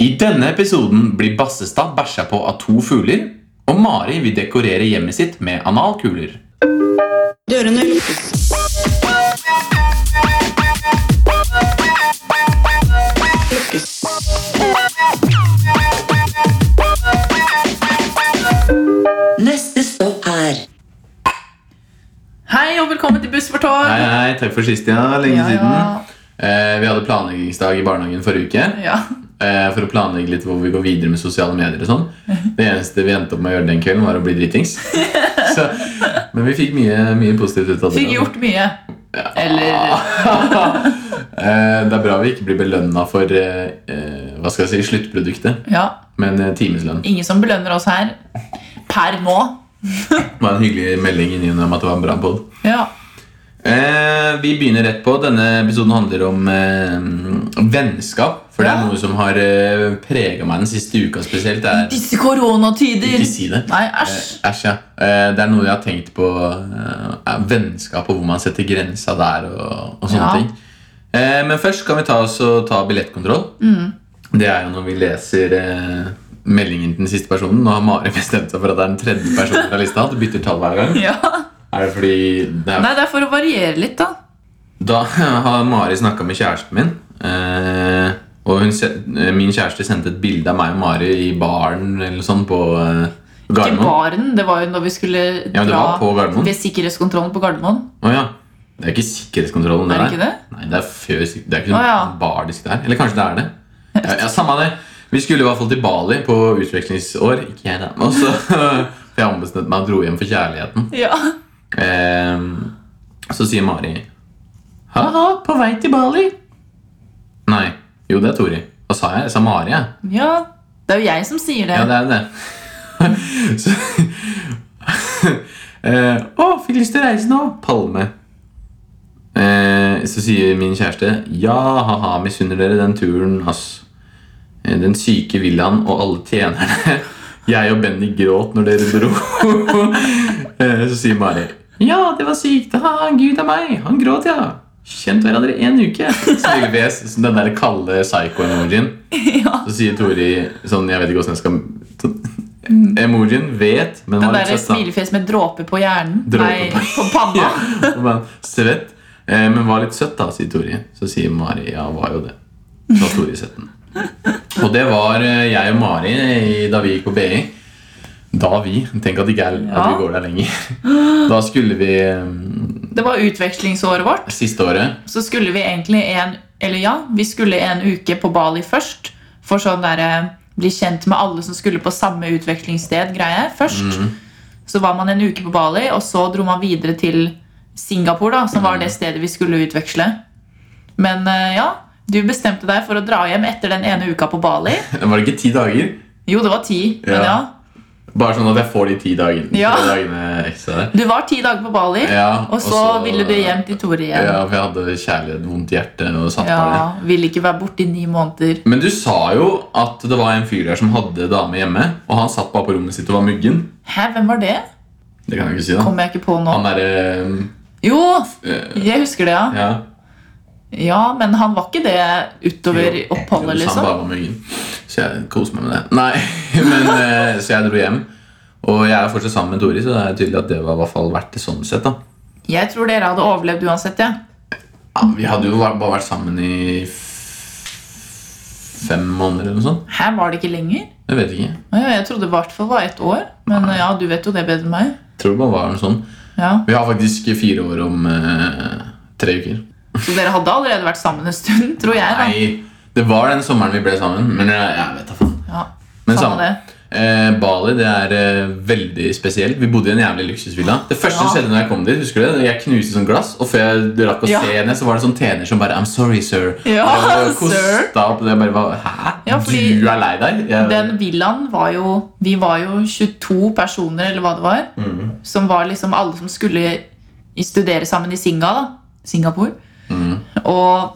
I denne episoden blir Bassestad bæsja på av to fugler, og Mari vil dekorere hjemmet sitt med analkuler. Dørene lukkes. Lukkes. Neste stopp er Hei og velkommen til Buss for tog. Hei, hei, takk for sist, ja. Lenge Ja, ja. siden. Eh, vi hadde planleggingsdag i barnehagen forrige uke. Ja. Eh, for å planlegge litt hvor vi går videre med sosiale medier og sånn. Det eneste vi endte opp med å gjøre den kvelden, var å bli dritings. Så, men vi fikk mye, mye positivt ut av det. Fikk gjort mye. Eller Eh, det er bra vi ikke blir belønna for eh, eh, hva skal jeg si, sluttproduktet, Ja. men eh, timeslønn. Ingen som belønner oss her. Per nå. Det var en hyggelig melding inni om at det var en bra podd. Ja. Eh, vi begynner rett på. Denne episoden handler om eh, vennskap. For det Ja. er noe som har eh, prega meg den siste uka spesielt. Det er, Disse koronatider. ikke si det. Nei, Eh, æsj. Æsj, ja. Eh, det er noe jeg har tenkt på. Eh, er vennskap og hvor man setter grensa der og, og sånne Ja. ting. Eh, men først kan vi ta, oss og ta billettkontroll. Mm. Det er jo når vi leser eh, meldingen til den siste personen. Nå har Mari bestemt seg for at det er den tredje personen fra lista. At du bytter tall hver gang. Ja. Er det fordi det er Nei, det er for å variere litt, da. Da har Mari snakka med kjæresten min. eh, Og hun, se- eh, min kjæreste sendte et bilde av meg og Mari i baren eller sånn på eh, Til Gardermoen. baren. Det var jo når vi skulle Ja, men det var på Gardermoen. ved sikkerhetskontrollen på Gardermoen. Å ja. Det er ikke sikkerhetskontrollen, det Er det der. ikke det? Nei, det er før sik- Det er ikke Å noen ja. bardisk der. Eller kanskje det er det. Ja, ja, Samme det. Vi skulle i hvert fall til Bali på utvekslingsår. Ikke jeg, da. Og så For jeg ombestemte meg og dro hjem for kjærligheten. Ja. Ehm, så sier Mari Ha-ha, på vei til Bali. Nei. Jo, det er Tori. Hva sa jeg? Jeg sa Mari, jeg. ja. Det er jo jeg som sier det. Ja, det er det. så, Eh, å, fikk lyst til å reise nå. Palme. Eh, så sier min kjæreste ja, ha-ha, misunner dere den turen, ass. Eh, Den syke villaen og alle tjenerne. Jeg og Benny gråt når dere dro. eh, så sier Mari ja, det var sykt. Ha, Gud er meg. Han gråt, ja. Kjent hverandre en uke. Smilefjes. som Den der kalde psycho-emojien. Ja. Så sier Tori sånn, jeg vet ikke hvordan jeg skal Mm. sånn, Emojien vet, men Den har derre litt svett, da. smilefjes med dråpe på hjernen. Dråpe Nei, på- på panna. Ja, og man, svett. Eh, men var litt søtt, da, sier Tori. Så sier Mari ja, var jo det. Så har Tori sett den. Og det var eh, jeg og Mari i- da vi gikk på BI. Da vi. Tenk at, det ikke er, at Ja. vi går der lenger. Da skulle vi eh, Det var utvekslingsåret vårt. Siste året. så skulle vi egentlig en Eller ja, vi skulle en uke på Bali først. For sånn derre bli kjent med alle som skulle på samme utvekslingssted. greie, først. Så var man en uke på Bali, og så dro man videre til Singapore, da, som var det stedet vi skulle utveksle. Men eh, ja, du bestemte deg for å dra hjem etter den ene uka på Bali. Var det ikke ti dager? Jo, det var ti, men Ja. ja. Bare sånn at jeg får de ti dagene, Ja. tre dagene ekstra. der. Du var ti dager på Bali, Ja, og så ville du hjem til Tore igjen. Ja, for jeg hadde kjærlighet, vondt hjerte og satt Ja, på det. Ville ikke være borte i ni måneder. Men du sa jo at det var en fyr der som hadde dame hjemme, og han satt bare på rommet sitt og var muggen. Hæ, hvem var det? Det kan jeg ikke si, da. Kommer jeg ikke på nå. Han derre Jo, eh, jeg husker det, ja. Ja. Ja, Men han var ikke det utover Jo, så Han oppholdet, liksom. bare var muggen. Så jeg koser meg med det. Nei, men eh, Så jeg dro hjem. Og jeg er fortsatt sammen med Tori, så det er tydelig at det var i hvert fall verdt det sånn sett. da liksom. Jeg tror dere hadde overlevd uansett, ja. ja, Vi hadde jo bare vært sammen i f- fem måneder eller noe sånt. Her var det ikke lenger. Jeg vet ikke. Å ja, Jeg trodde det i hvert fall var ett år. Men ja, du vet jo det bedre enn meg. Tror det bare var noe sånn. Ja, Vi har faktisk fire år om eh, tre uker. Så dere hadde allerede vært sammen en stund, tror jeg. Nei, det var den sommeren vi ble sammen, men jeg, jeg vet da faen. da. Ja, Men samme samme. det. Eh, Bali det er eh, veldig spesielt. Vi bodde i en jævlig luksusvilla. Det første som Ja. skjedde når jeg kom dit, husker du det? Jeg knuste sånn glass, og før jeg rakk å Ja. se henne, så var det sånn tjener som bare I'm sorry, sir. Ja, Og sir. kosta opp, og jeg bare var, Hæ? Ja, fordi du er lei deg? Jeg, Den villaen var jo Vi var jo 22 personer, eller hva det var. Mm. Som var liksom alle som skulle i- studere sammen i Singa, da. Singapore. Mm. Og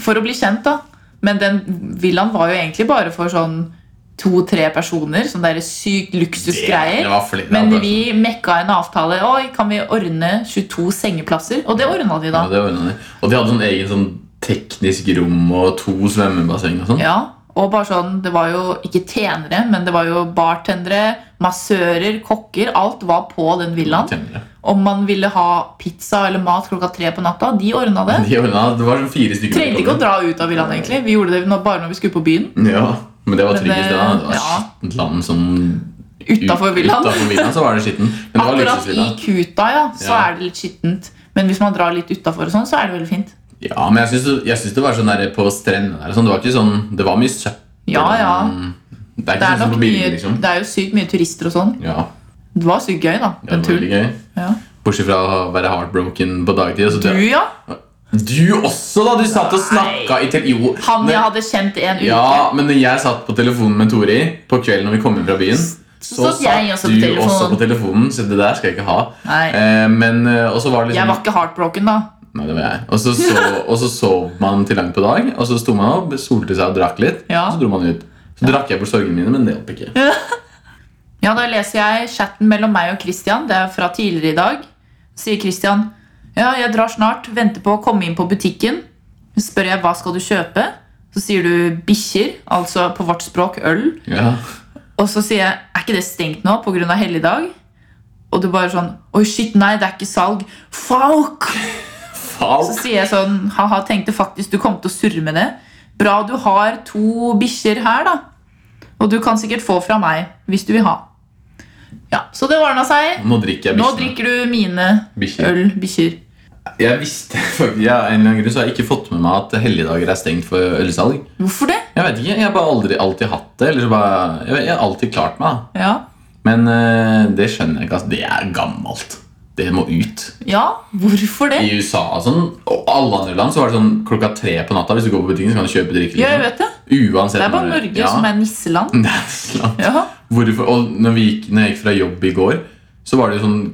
for å bli kjent, da. Men den villaen var jo egentlig bare for sånn to-tre personer. Sånn derre sykt det, det luksusgreier. var flere, Men det var sånn. vi mekka en avtale. Oi, kan vi ordne 22 sengeplasser? Og det ordna de, Ja, da. det var noe. Og de hadde sånn egen sånn teknisk rom og to svømmebasseng og sånn. Ja, Og bare sånn, Det var jo ikke tjenere, men det var jo bartendere, massører, kokker. Alt var på den villaen. Temmelig. Om man ville ha pizza eller mat klokka tre på natta, de ordna det. De ordna- det var sånn fire stykker. Trengte ikke å dra ut av villaen, egentlig. Vi gjorde det nå- bare når vi skulle på byen. Ja, men det var Men tryggest det- da. Det var ja. skittent land som Utafor villaen. Utenfor villaen så var det skitten. Men det var Akkurat i luksusvilla. Kuta, ja, så Ja. er det litt skittent. Men hvis man drar litt utafor, sånn, så er det veldig fint. Ja, men jeg syns, jeg syns det var sånn der på strendene der. Sånn, det var ikke sånn Det var mye søppel. Ja, Det ja. er Det ikke er, sånn nok som på mye, bildet, liksom. det er jo sykt mye turister og sånn. Ja, Det var sykt gøy, da. det Den var veldig turen. gøy. Ja. Bortsett fra å være heartbroken på dagtid. Så Du, ja. Du også, da! Du satt og snakka i tele... Jo. Han men- jeg hadde kjent en uke. Ja, men når jeg satt på telefonen med Tori på kvelden når vi kom hjem fra byen, så satt satt jeg også på du telefonen. også på telefonen, så det der skal jeg ikke ha. Nei. Eh, men, eh, og så var det Jeg liksom var ikke heartbroken, da. Nei, det var jeg. Og så, så, og så sov man til langt på dag, og så sto man opp, solte seg og drakk litt, Ja. og så dro man ut. Så drakk jeg bort sorgene mine, men det hjalp ikke. Ja, Da leser jeg chatten mellom meg og Christian. Det er fra tidligere i dag. Sier Christian ja, jeg drar snart, venter på å komme inn på butikken. Så Spør jeg hva skal du kjøpe, så sier du bikkjer, altså på vårt språk øl. Ja. Og så sier jeg, er ikke det stengt nå på grunn av helligdag? Og du bare sånn, oi shit, nei, det er ikke salg. Fuck! Så Faen. sier jeg sånn, haha, tenkte faktisk du kom til å surre med det. Bra du har to bikkjer her da. Og du kan sikkert få fra meg, hvis du vil ha. Ja, så det ordnet seg. Nå drikker jeg Nå bikkjene. drikker du mine Bikkjer. øl, bikkjer. Jeg visste faktisk, ja, en eller annen grunn så har jeg ikke fått med meg at helligdager er stengt for ølsalg. Hvorfor det? Jeg vet ikke, jeg har bare aldri alltid hatt det. Eller så bare, jeg, vet- jeg har alltid klart meg. da. Ja, Men eh, det skjønner jeg ikke. Altså, det er gammelt. Det må ut. ja hvorfor det? I USA og sånn, og alle andre land så var det sånn klokka tre på natta. Hvis du går på butikken, så kan du kjøpe drikke. Ja, jeg liksom. vet det. Uansett Det er bare når du- Norge ja. som er nisseland. Det er Island. Ja, Hvorfor? Og når, vi gikk, når jeg gikk fra jobb i går, så var det jo sånn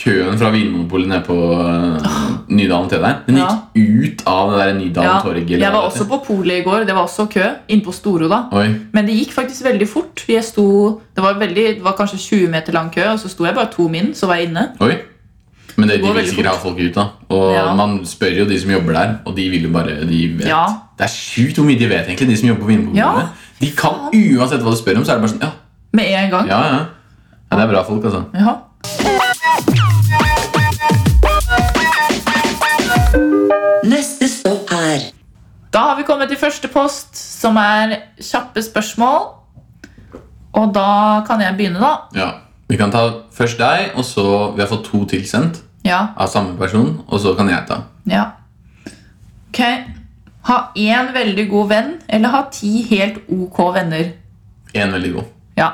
Køen fra Vinmonopolet nede på eh, Nydalen til der. Den Ja. gikk ut av det der Nydalen ja. torg. eller Jeg hva var det heter. også på Polet i går, det var også kø, inne på Storo da. Oi. Men det gikk faktisk veldig fort. Jeg sto, det, var veldig, det var kanskje 20 meter lang kø, og så sto jeg bare to min, så var jeg inne. Oi. Men det, Det de går vil veldig sikkert ha fort. folk ut, da. Og Ja. man spør jo de som jobber der, og de vil jo bare de vet. Ja. Det er sjukt hvor mye de vet, egentlig, de som jobber på Vinmonopolet. Ja. De kan uansett hva du spør om, så er det bare sånn Ja, Med en gang. ja, ja. ja det er bra folk, altså. Jaha. Neste stopp er Da har vi kommet til første post, som er kjappe spørsmål. Og da kan jeg begynne, da. Ja. Vi kan ta først deg, og så Vi har fått to tilsendt Ja. av samme person, og så kan jeg ta. ja. Ok. Ha én veldig god venn, eller ha ti helt ok venner? Én veldig god. Ja.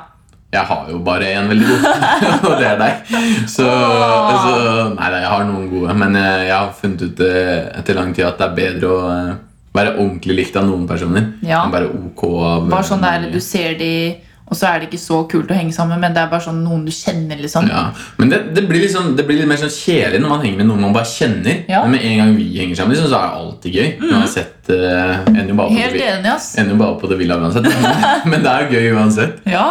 Jeg har jo bare én veldig god, og det er deg. Så, så Nei da, jeg har noen gode, men jeg, jeg har funnet ut eh, etter lang tid at det er bedre å eh, være ordentlig likt av noen personer Ja. enn bare ok av eh, Bare sånn der mange. du ser de, og så er det ikke så kult å henge sammen, men det er bare sånn noen du kjenner, liksom. ja. Men det, det, blir liksom, det blir litt mer sånn kjedelig når man henger med noen man bare kjenner. Ja. Men Mm. med en gang vi henger sammen, liksom, så er det alltid gøy. Uansett, eh, ender jo bare på det Helt vi- enig, ass. ender jo bare på det ville uansett. Men det er jo gøy uansett. Ja.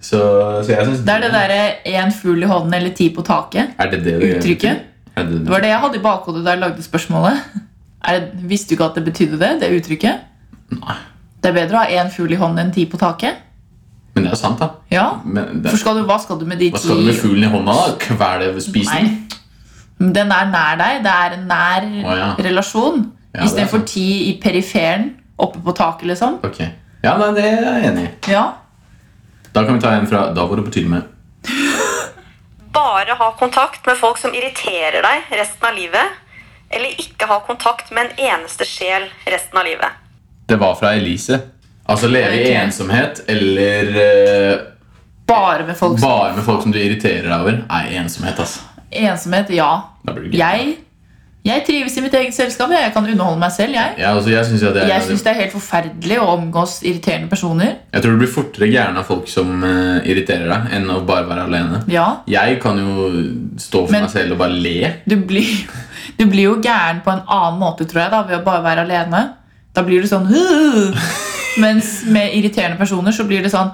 Så, så jeg synes Det er det derre én fugl i hånden eller ti på taket. Er det det det Uttrykket. Er det Det var det jeg hadde i bakhodet da jeg lagde spørsmålet. Er det, visste du ikke at det betydde det? Det uttrykket? Nei. Det er bedre å ha én fugl i hånden enn ti på taket. Men det er jo sant, da. Ja. Men det, For skal du, hva skal du med de ti Hva skal du med fuglen i hånda? da? Kvele ved spisen? Nei. Men Den er nær deg. Det er en nær ja. relasjon. Ja, det er Istedenfor sant. ti i periferen oppe på taket, liksom. Ok. Ja, nei, det er jeg enig i. Ja. Da kan vi ta en fra Da var det på tide med Bare ha kontakt med folk som irriterer deg resten av livet. Eller ikke ha kontakt med en eneste sjel resten av livet. Det var fra Elise. Altså leve i Ok. ensomhet eller eh, Bare med folk. bare med folk som du irriterer deg over. Nei, ensomhet, altså. Ensomhet, ja. Da blir det gøy. Jeg, jeg trives i mitt eget selskap. Jeg Jeg kan underholde meg selv, jeg. Ja, altså, jeg, synes jo at det er, Jeg syns det er helt forferdelig å omgås irriterende personer. jeg tror du blir fortere gæren av folk som eh, irriterer deg, enn å bare være alene. Ja, Jeg kan jo stå for Men- meg selv og bare le. du blir, du blir jo gæren på en annen måte, tror jeg, da, ved å bare være alene. Da blir du sånn «Åh!» Mens med irriterende personer så blir det sånn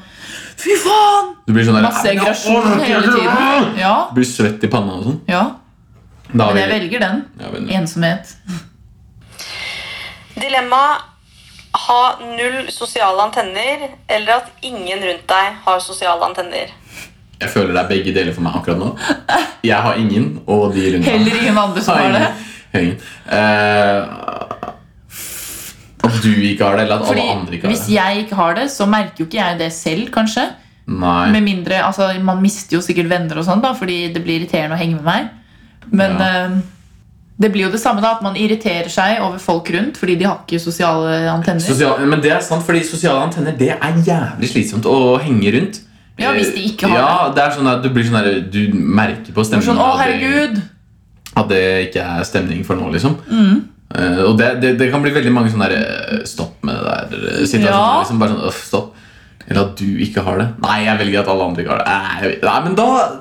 Fy faen! Du blir sånn der, Masse «Nei, nå aggresjon orker jeg hele ikke!» tiden. Ja, Du blir svett i panna og sånn. ja. Da Men vil- jeg velger den. Ja, men- Ensomhet. Dilemma ha null sosiale antenner, eller at ingen rundt deg har sosiale antenner? Jeg føler det er begge deler for meg akkurat nå. Jeg har ingen, og de rundt meg Heller ingen andre som har har det. ingen. Har ingen. Eh, at du ikke har det, eller at Fordi alle andre ikke har Hvis det. jeg ikke har det, så merker jo ikke jeg det selv, kanskje. Nei. Med mindre, altså Man mister jo sikkert venner og sånn da, fordi det blir irriterende å henge med meg. Men Ja. eh, det blir jo det samme, da, at man irriterer seg over folk rundt fordi de har ikke sosiale antenner. Sosial, men det er sant, fordi sosiale antenner Det er jævlig slitsomt å henge rundt. Ja, hvis de ikke har ja, det. er sånn at Du blir sånn der, du merker på Det er stemningen sånn, Å, at det- herregud! at det ikke er stemning for nå, liksom. Mm. Eh, og det, det, det kan bli veldig mange sånne der, eh, stopp med det der eh, situasjoner. Ja. Liksom, bare sånn, «Uff, stopp. Eller at du ikke har det. Nei, jeg velger at alle andre ikke har det. Nei, jeg, nei men da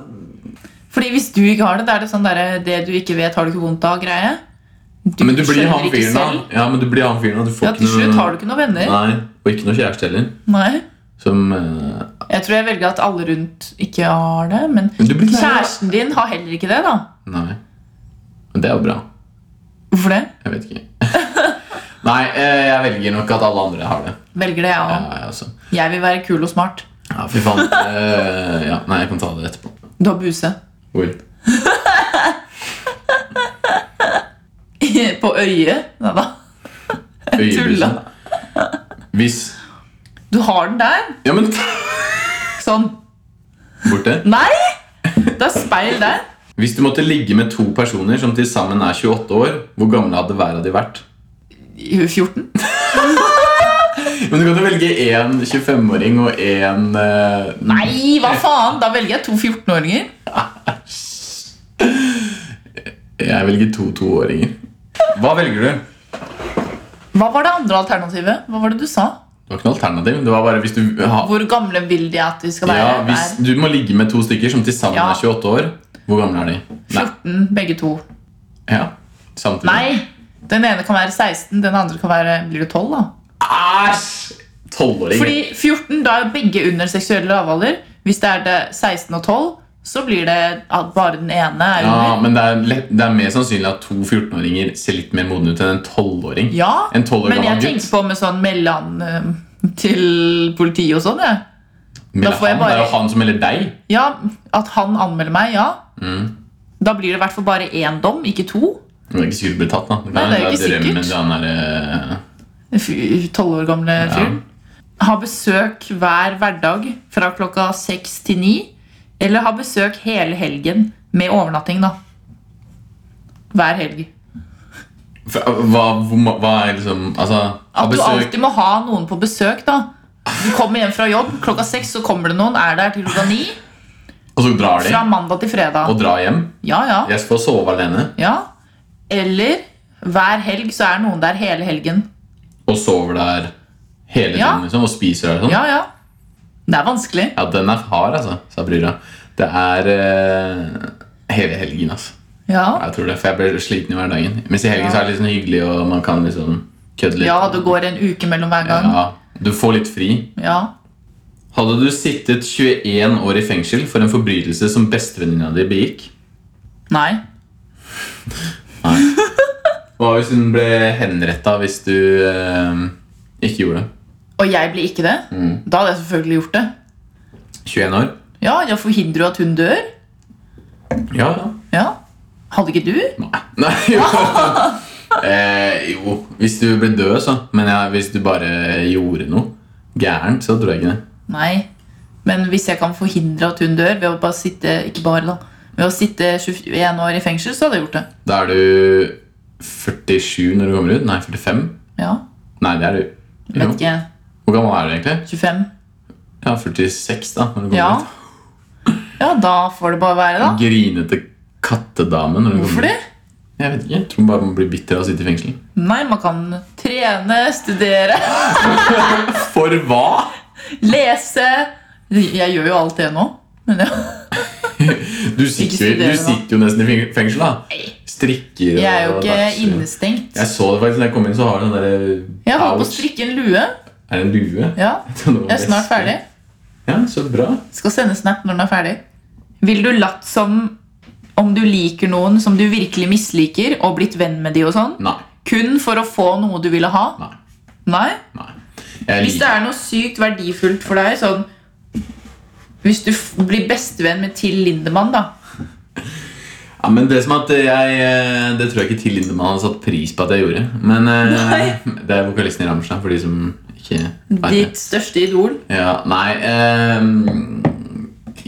Fordi hvis du ikke har det, da er det sånn derre Det du ikke vet, har du ikke vondt av, greie. Du Men du blir skjønner han ikke fyren, da. selv. Ja, men du blir han fyren, da. Du får Ja, til slutt har du ikke noen venner. Nei, Og ikke noe kjæreste heller. Nei. Som eh, Jeg tror jeg velger at alle rundt ikke har det, men Men du blir ikke lei deg. kjæresten din har heller ikke det, da. Nei. Men det er jo bra. Hvorfor det? Jeg vet ikke. nei, eh, jeg velger nok at alle andre har det. Velger det, Ja, jeg òg. jeg også. Jeg vil være kul og smart. Ja, fy faen. Eh, ja, nei, jeg kan ta det etterpå. Du har buse. Hvor? På øyet. Nei da. Øyebussen. Hvis Du har den der. Ja, men Sånn. Borte. Nei! Det er speil der. Hvis du måtte ligge med to personer som til sammen er 28 år, hvor gamle hadde hver av de vært? I 14. Men du kan jo velge én 25-åring og eh, én Nei, hva faen? Da velger jeg to 14-åringer. Jeg velger to toåringer. Hva velger du? Hva var det andre alternativet? Hva var det du sa? Det var ikke noe alternativ. Det var bare hvis du ha, Hvor gamle vil de at de skal være? ja, hvis Er du må ligge med to stykker som til sammen Ja. er 28 år, hvor gamle er de? Nei. 14, begge to. Ja. Samtidig. Nei! Den ene kan være 16, den andre kan være Blir det 12, da? Æsj! Tolvåring. Fordi 14, da er jo begge under seksuell lavalder. Hvis det er det 16 og 12, så blir det at bare den ene er Ja, under. men det er, lett, det er mer sannsynlig at to 14-åringer ser litt mer modne ut enn en 12-åring. Ja, En 12 år men jeg gammel gutt. tenkte på med sånn mellom eh, til politiet og sånn, jeg. Men Da får jeg han, bare- Det er jo han som melder deg. Ja, at han anmelder meg, ja. Mm. Da blir det i hvert fall bare én dom, ikke to. Du er ikke sikkert blitt tatt, da. Det, Nei, det er jo ikke drømmen sikkert. til han der, eh, Tolv år gamle fyren. Ha besøk hver hverdag fra klokka seks til ni. Eller ha besøk hele helgen med overnatting, da. Hver helg. for- eh, hva, hvor ma- hva er liksom Altså, ha At du besøk alltid må ha noen på besøk, da. Du kommer hjem fra jobb, klokka seks så kommer det noen, er der til klokka ni. Og så drar de. Fra mandag til fredag. Og drar hjem. Ja, ja. Jeg får sove alene. ja. Eller hver helg så er noen der hele helgen. Og sover der hele Ja. tiden liksom, og spiser der og sånn. Ja, ja. Det er vanskelig. Ja, den er hard, altså, sa Bryra. Det er eh, hele helgen, altså. Ja, Jeg tror det, for jeg blir sliten i hverdagen. Mens i helgen så er det litt sånn hyggelig, og man kan liksom kødde litt. ja det går en uke mellom hver gang. Ja, du får litt fri. Ja. Hadde du sittet 21 år i fengsel for en forbrytelse som bestevenninna di begikk? Nei. Hva hvis hun ble henretta hvis du eh, ikke gjorde det? Og jeg blir ikke det? Mm. Da hadde jeg selvfølgelig gjort det. 21 år? Ja, Jeg forhindrer jo at hun dør. Ja. Ja. Hadde ikke du? Nei. Nei jo. eh, jo, hvis du ble død, så. Men ja, hvis du bare gjorde noe gærent, så tror jeg ikke det. Nei. Men hvis jeg kan forhindre at hun dør ved å bare sitte ikke bare da, ved å sitte 21 år i fengsel, så hadde jeg gjort det. Da er du 47 når du kommer ut? Nei, 45? Ja, Nei, det er du. Jo. Vet ikke. Hvor gammel er du egentlig? 25. Ja, 46, da. Når du kommer Ja. ut. ja, da får det bare være, da. Grinete kattedame. Når du Hvorfor kommer det? ut. Jeg vet ikke. Jeg tror bare man blir bitter av å sitte i fengsel. Nei, man kan trene, studere, For hva?! lese Jeg gjør jo alt det nå. Men ja. Du sitter, jo, studere, du da. sitter jo nesten i feng- fengsel, da. Strikker og jeg er jo ikke takser. innestengt. Jeg så det faktisk da jeg kom inn, så har du den derre Jeg holder på å Ouch. strikke en lue. Er det en lue? Ja, Det var Jeg er snart best. ferdig. Ja, Så bra. Skal sende snap når den er ferdig. Vil du latt som om du liker noen som du virkelig misliker, og blitt venn med de og sånn? Nei. Kun for å få noe du ville ha? Nei. Nei. Nei. Jeg Hvis det liker er noe sykt verdifullt for deg, sånn Hvis du f blir bestevenn med Till Lindemann, da. ja, Men det er som at jeg eh, Det tror jeg ikke Till Lindemann hadde satt pris på at jeg gjorde. Men eh, det er vokalisten i Rammstein, for de som ikke vet det. Ditt største idol. Ja, nei eh,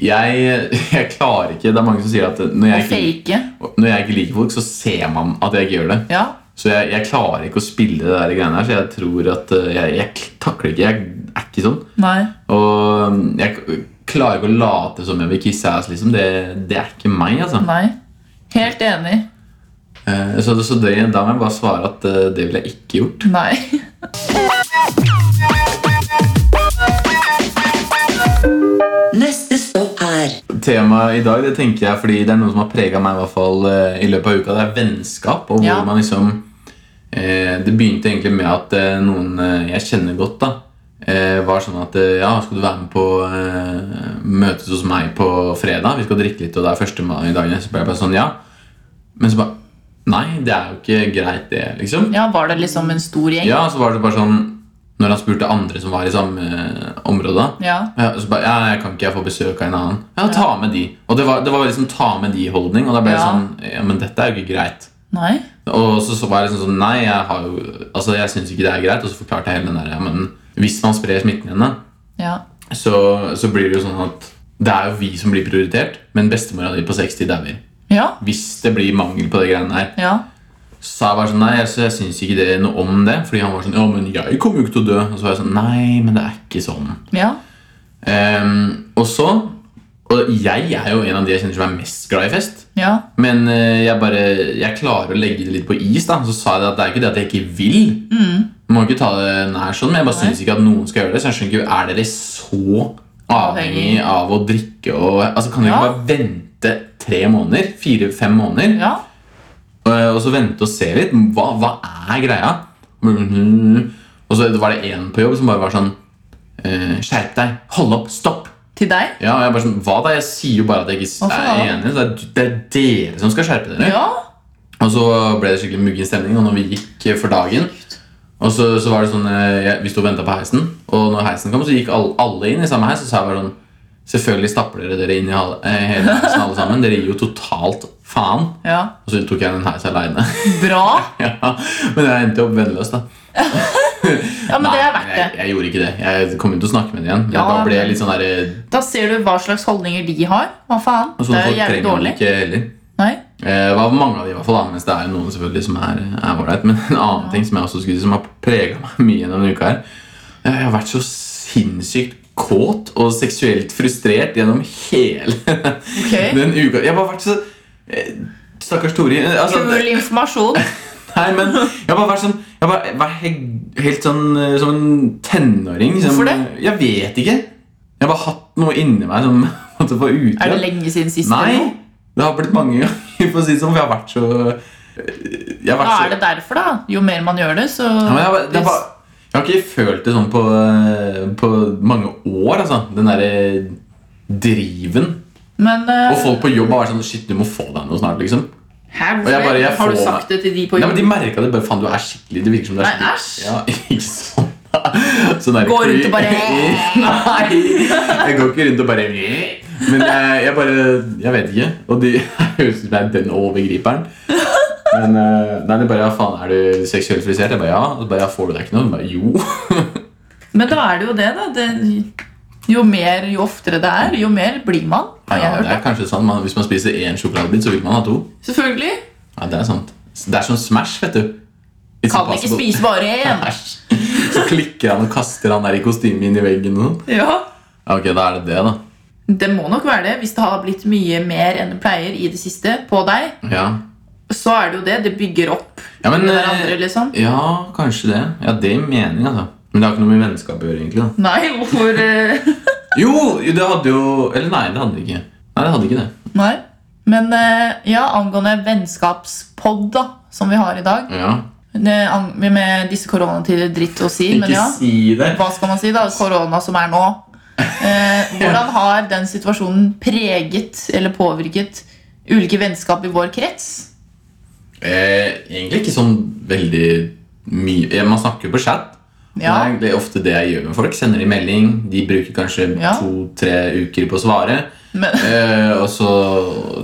jeg, jeg klarer ikke Det er mange som sier at når Og jeg, ikke, fake. når jeg ikke liker folk, så ser man at jeg ikke gjør det. Ja. Så jeg, jeg klarer ikke å spille det der greiene her, så jeg tror at eh, jeg, jeg takler ikke. Jeg er ikke sånn. Nei. Og mm, jeg k- klarer ikke å late som jeg vil kisse ass, liksom. Det, det er ikke meg, altså. Nei. Helt enig. Eh, Så, så det, da må jeg bare svare at eh, det ville jeg ikke gjort. Nei. Neste stopp er Temaet i dag det tenker jeg fordi det er noe som har prega meg i hvert fall eh, i løpet av uka. Det er vennskap. og hvor Ja. man liksom eh, Det begynte egentlig med at eh, noen eh, jeg kjenner godt, da eh, var sånn at eh, Ja, skal du være med på eh, møtes hos meg på fredag? Vi skal drikke litt, og det er første mai i dagen. Så ble jeg bare sånn, ja. Men så bare Nei, det er jo ikke greit, det, liksom. Ja, var det liksom en stor gjeng? Ja, så var det bare sånn Når han spurte andre som var i samme eh, område Ja. ja, så bare, ja, jeg kan ikke jeg få besøk av en annen Ja, ta med de Og det var, det var liksom ta med de holdning Og da ble jeg Ja. sånn, ja, men dette er jo ikke greit Nei. Og så, så var jeg liksom sånn, nei, jeg har jo Altså, jeg synes ikke det er greit Og så forklarte jeg hele den der, ja, men Hvis man sprer smitten henne Ja. så, så blir det jo sånn at Det er jo vi som blir prioritert Men bestemora di på 60 dauer. Ja. Hvis det blir mangel på det greiene her Ja. sa jeg bare sånn, nei, altså, jeg synes ikke det noe om det Fordi han var sånn, ja, men jeg kommer jo ikke til å dø Og så var jeg sånn, nei, men det er ikke sånn Ja. Ehm, Og så Og jeg er jo en av de jeg kjenner som er mest glad i fest Ja. Men eh, jeg bare Jeg klarer å legge det litt på is da Så sa jeg det at det er ikke det at jeg ikke vil Man må ikke ta det nær sånn Men jeg bare Mm. Nei. synes ikke at noen skal gjøre det Så jeg skjønner ikke, er dere så avhengig Avhengig. av å drikke og, Altså kan dere Ja. ikke bare vente tre måneder Fire-fem måneder Ja. Eh, Og så vente og se litt. Hva, hva er greia? Mhm. Og så var det en på jobb som bare var sånn eh, Skjerp deg! Hold opp! Stopp! Til deg? Ja, og jeg bare sånn, Hva da? Jeg sier jo bare at jeg ikke Hva for er faen? enig. så Det er, det er dere som skal skjerpe dere. Ja. Og så ble det skikkelig muggen stemning, og når vi gikk eh, for dagen og så, så var det sånn, eh, jeg, Vi sto og venta på heisen, og når heisen kom, så gikk alle, alle inn i samme heis. Og så sa jeg bare sånn Selvfølgelig stapper dere dere inn i hal- eh, hele heisen alle sammen. Dere gir jo totalt faen. Ja. Og så tok jeg den heisen aleine. Bra. Ja, men jeg endte jo opp vennløs, da. Ja, men det er Nei, verdt jeg, det. jeg gjorde ikke det. Jeg kom jo til å snakke med det igjen. Men Ja, da ble jeg men- litt sånn der, Da ser du hva slags holdninger de har. Hva faen? Og Det sånne Altså, er jo sånn, folk jævlig trenger man dårlig. ikke heller. Nei. Eh, Det var mange av de i hvert fall, da, mens det er jo noen selvfølgelig som er er ålreit. Men en annen ting som jeg også skulle si som har prega meg mye gjennom denne uka, her eh, Jeg har vært så sinnssykt kåt og seksuelt frustrert gjennom hele Ok. den uka. Jeg har bare vært så eh, Stakkars Tori. eh, Altså, Kul informasjon. Nei, men jeg har bare vært sånn Jeg har bare vært helt, helt sånn eh, som en tenåring. som- Hvorfor det? Jeg vet ikke. Jeg har bare hatt noe inni meg som måtte få utløp. Er det lenge siden sist? eller Nei. noe? Det har blitt mange ganger, for å si det sånn. For jeg har vært så eh, Jeg har Da vært så er det derfor, da. Jo mer man gjør det, så ja, men jeg, har bare- det er bare, jeg har ikke følt det sånn på, eh, på mange år, altså. Den derre driven. Men, eh, Og folk på jobb har vært sånn Shit, du må få deg noe snart, liksom. Hæ, hvorfor Og jeg bare- jeg har du får- sagt det til de på Nei, jobb? men De merka det bare. Faen, du er skikkelig Det virker som du er Nei, skikkelig æsj. Ja, ikke sånn. sånn der, Gå rundt og bare- Nei! Jeg går ikke rundt og bare Men jeg, jeg bare Jeg vet ikke. Og de høres ut som jeg er den overgriperen. Men eh, nei, det er bare ja, faen, er du seksuelt frisert? Jeg bare ja. Og så bare, ja, får du deg ikke noe? Jeg Bare, jo. Men da er det jo det, da. Det, jo mer, jo oftere det er, jo mer blir man. Ja, Har jeg det hørt. er kanskje sant. Man, hvis man spiser én sjokoladebit, så vil man ha to. da. Selvfølgelig. Ja, Det er sant. Det er sånn Smash, vet du. It's Kan ikke impossible. spise bare én. Æsj. Så klikker han og kaster han der i kostymet inn i veggen. og sånn. Ja. Ja, Ok, da er det det, da. Det må nok være det. Hvis det har blitt mye mer enn det pleier i det siste på deg, Ja, så er det jo det. Det bygger opp ja men med eh, hverandre, liksom. Ja, kanskje det. Ja, det gir mening, altså. Men det har ikke noe med vennskap å gjøre, egentlig. da Nei, hvorfor eh, Jo, det hadde jo Eller nei, det hadde det ikke. Nei, det hadde ikke det. Nei. Men eh, ja, angående vennskapspod, da, som vi har i dag Ja. det, ang- Med disse koronatider, dritt å si, men ja. si det. hva skal man si da, korona som er nå. Eh, hvordan har den situasjonen preget eller påvirket ulike vennskap i vår krets? Eh, egentlig ikke sånn veldig mye eh, Man snakker jo på chat, Ja. Det er egentlig ofte det jeg gjør med folk. Sender de melding, de bruker kanskje Ja. to-tre uker på å svare. Men, eh, og, så,